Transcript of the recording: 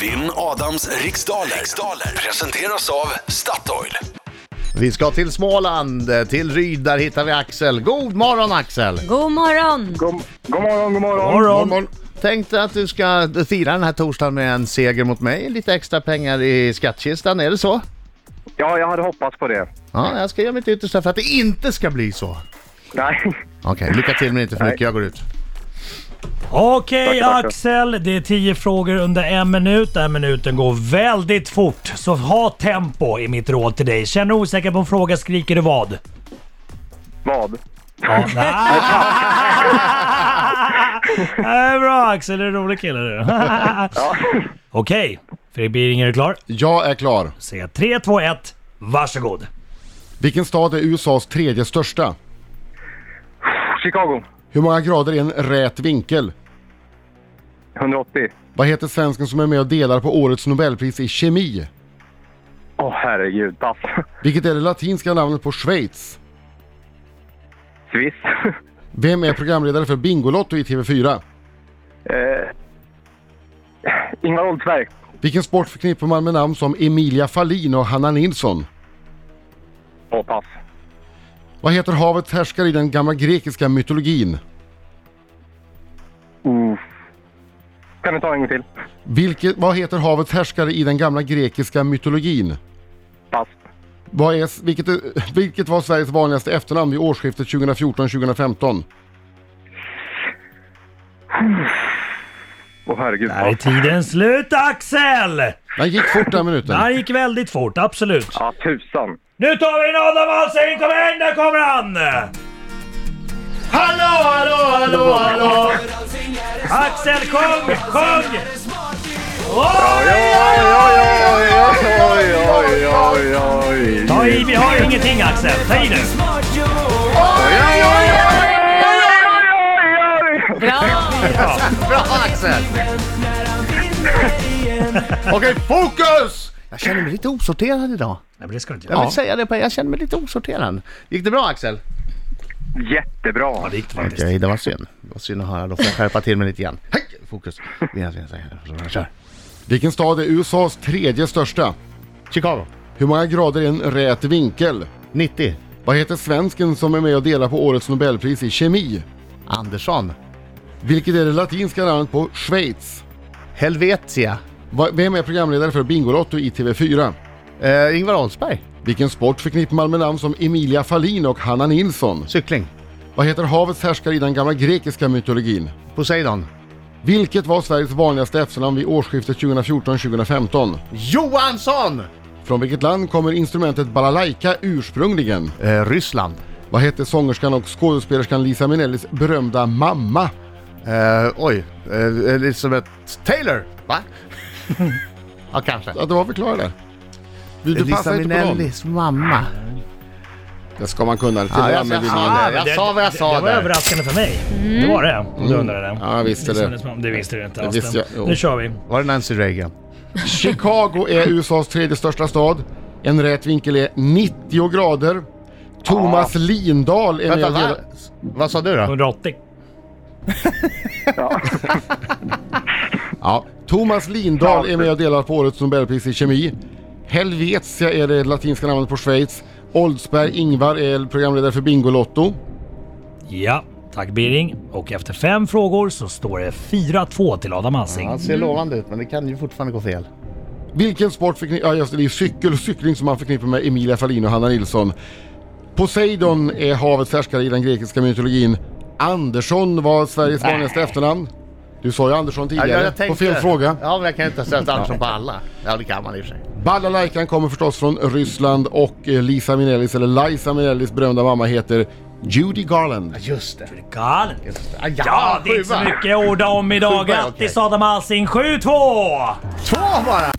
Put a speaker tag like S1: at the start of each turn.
S1: Vinn Adams riksdaler. riksdaler presenteras av Statoil.
S2: Vi ska till Småland, eh, till Ryd, där hittar vi Axel. God morgon Axel!
S3: God morgon!
S4: God, god morgon, god morgon.
S2: Tänkte att du ska fira den här torsdagen med en seger mot mig, lite extra pengar i skattkistan, är det så?
S4: Ja, jag hade hoppats på det.
S2: Ja, jag ska göra mitt yttersta för att det inte ska bli så.
S4: Nej,
S2: Okej, lycka till men inte för
S4: Nej.
S2: mycket, jag går ut.
S5: Okej
S4: tackar.
S5: Axel, det är tio frågor under en minut. Den här minuten går väldigt fort. Så ha tempo i mitt råd till dig. Känner du osäker på en fråga skriker du vad?
S4: vad?
S5: Ja, det är bra Axel, du är en rolig kille du. Okej, Fredrik Biring är du klar?
S6: Jag är klar.
S5: Säg 3, 2, 1, varsågod.
S6: Vilken stad är USAs tredje största?
S4: Chicago,
S6: Hur många grader är en rät vinkel?
S4: 180.
S6: Vad heter svensken som är med och delar på årets Nobelpris i kemi?
S4: Åh herregud, pass.
S6: Vilket är det latinska namnet på Schweiz?
S4: Swiss.
S6: Vem är programledare för Bingolotto i TV4?
S4: Eh, Ingvar Oldsberg,
S6: Vilken sport förknippar man med namn som Emilia Fahlin och Hanna Nilsson?
S4: åh pass.
S6: Vad heter havets härskare i den gamla grekiska mytologin?
S4: Uh. Kan du ta en gång till?
S6: Vilket, vad heter havets härskare i den gamla grekiska mytologin?
S4: Pass.
S6: Vad är, vilket, vilket var Sveriges vanligaste efternamn vid årsskiftet 2014-2015?
S4: Åh herregud,
S5: Där är
S4: pass.
S5: tiden slut Axel!
S6: Den gick fort den
S5: Det
S6: minuten.
S5: här gick väldigt fort, absolut.
S4: Ja, tusan.
S5: Nu tar vi in Adam Alsing, kom igen, där kommer han! Hallå, hallå, hallå, hallå! Axel, sjung, sjung! Oj! Ta i, vi har ju ingenting Axel, ta i nu!
S3: Bra!
S2: Bra Axel! Okej, fokus! Jag känner mig lite osorterad idag.
S5: Nej men det ska du inte
S2: Jag
S5: göra.
S2: vill säga det på jag känner mig lite osorterad. Gick det bra Axel?
S4: Jättebra.
S5: Ja, det gick faktiskt.
S2: Okej, det var synd. Det var synd att höra. Då får jag skärpa till mig lite grann. Hej! Fokus. Vi har- vi har- Kör.
S6: Vilken stad är USAs tredje största?
S2: Chicago.
S6: Hur många grader är en rät vinkel?
S2: 90.
S6: Vad heter svensken som är med och delar på årets Nobelpris i kemi?
S2: Andersson.
S6: Vilket är det latinska namnet på Schweiz?
S2: Helvetia.
S6: Va- Vem är programledare för Bingolotto i TV4?
S2: Eh, Ingvar Oldsberg.
S6: Vilken sport förknippar man med namn som Emilia Fahlin och Hanna Nilsson?
S2: Cykling.
S6: Vad heter havets härskare i den gamla grekiska mytologin?
S2: Poseidon.
S6: Vilket var Sveriges vanligaste efternamn vid årsskiftet 2014-2015?
S2: Johansson!
S6: Från vilket land kommer instrumentet balalaika ursprungligen?
S2: Eh, Ryssland.
S6: Vad hette sångerskan och skådespelerskan Lisa Minnellis berömda mamma?
S2: Eh, oj. Eh, Elizabeth Taylor. Va? ja, kanske.
S6: Ja, det var väl klar där. Du, du
S2: Elisa
S6: passar inte på någon.
S2: Minnellis mamma.
S6: Det ska man kunna lite
S2: Ja,
S6: grann
S2: jag,
S6: med
S2: jag,
S6: din
S2: sa det. jag sa vad jag
S5: det,
S2: sa
S5: det var
S2: där.
S5: överraskande för mig. Det var det, om du undrar det.
S6: Mm. Ja, jag visste det.
S5: Det visste du inte
S6: Det
S5: alls.
S6: visste jag, jo.
S5: nu kör vi.
S2: Var det Nancy Reagan?
S6: Chicago är USAs tredje största stad. En rät vinkel är 90 grader. Thomas Lindahl är med
S2: Vänta,
S6: och
S2: va?
S6: delar...
S2: Vad sa du då?
S5: 180.
S6: Ja. Thomas Lindahl är med och delar på årets Nobelpris i kemi. Helvetia är det latinska namnet på Schweiz. Oldsberg Ingvar är programledare för Bingolotto.
S5: Ja, tack Biring. Och efter fem frågor så står det 4-2 till Adam Alsing.
S2: Han ser lovande ut, men det kan ju fortfarande gå fel.
S6: Vilken sport förknippar... Ja just det, det är cykel och cykling som man förknippar med Emilia Fahlin och Hanna Nilsson. Poseidon är havets härskare i den grekiska mytologin. Andersson var Sveriges vanligaste efternamn. Du sa ju Andersson tidigare, på fel fråga.
S2: Ja, men jag kan ju inte ha ställt Andersson på alla. Ja, det kan man i och för sig.
S6: Balalajkan kommer förstås från Ryssland och eh, Lisa Minnellis, eller Liza Minnellis berömda mamma heter Judy Garland.
S2: Just det.
S5: Galen.
S2: Just det. Ah, ja,
S5: Ja, det är inte så
S2: sjua.
S5: mycket att orda om idag.
S2: Sjua, okej.
S5: Grattis Adam Alsing, 7-2!
S2: Två bara!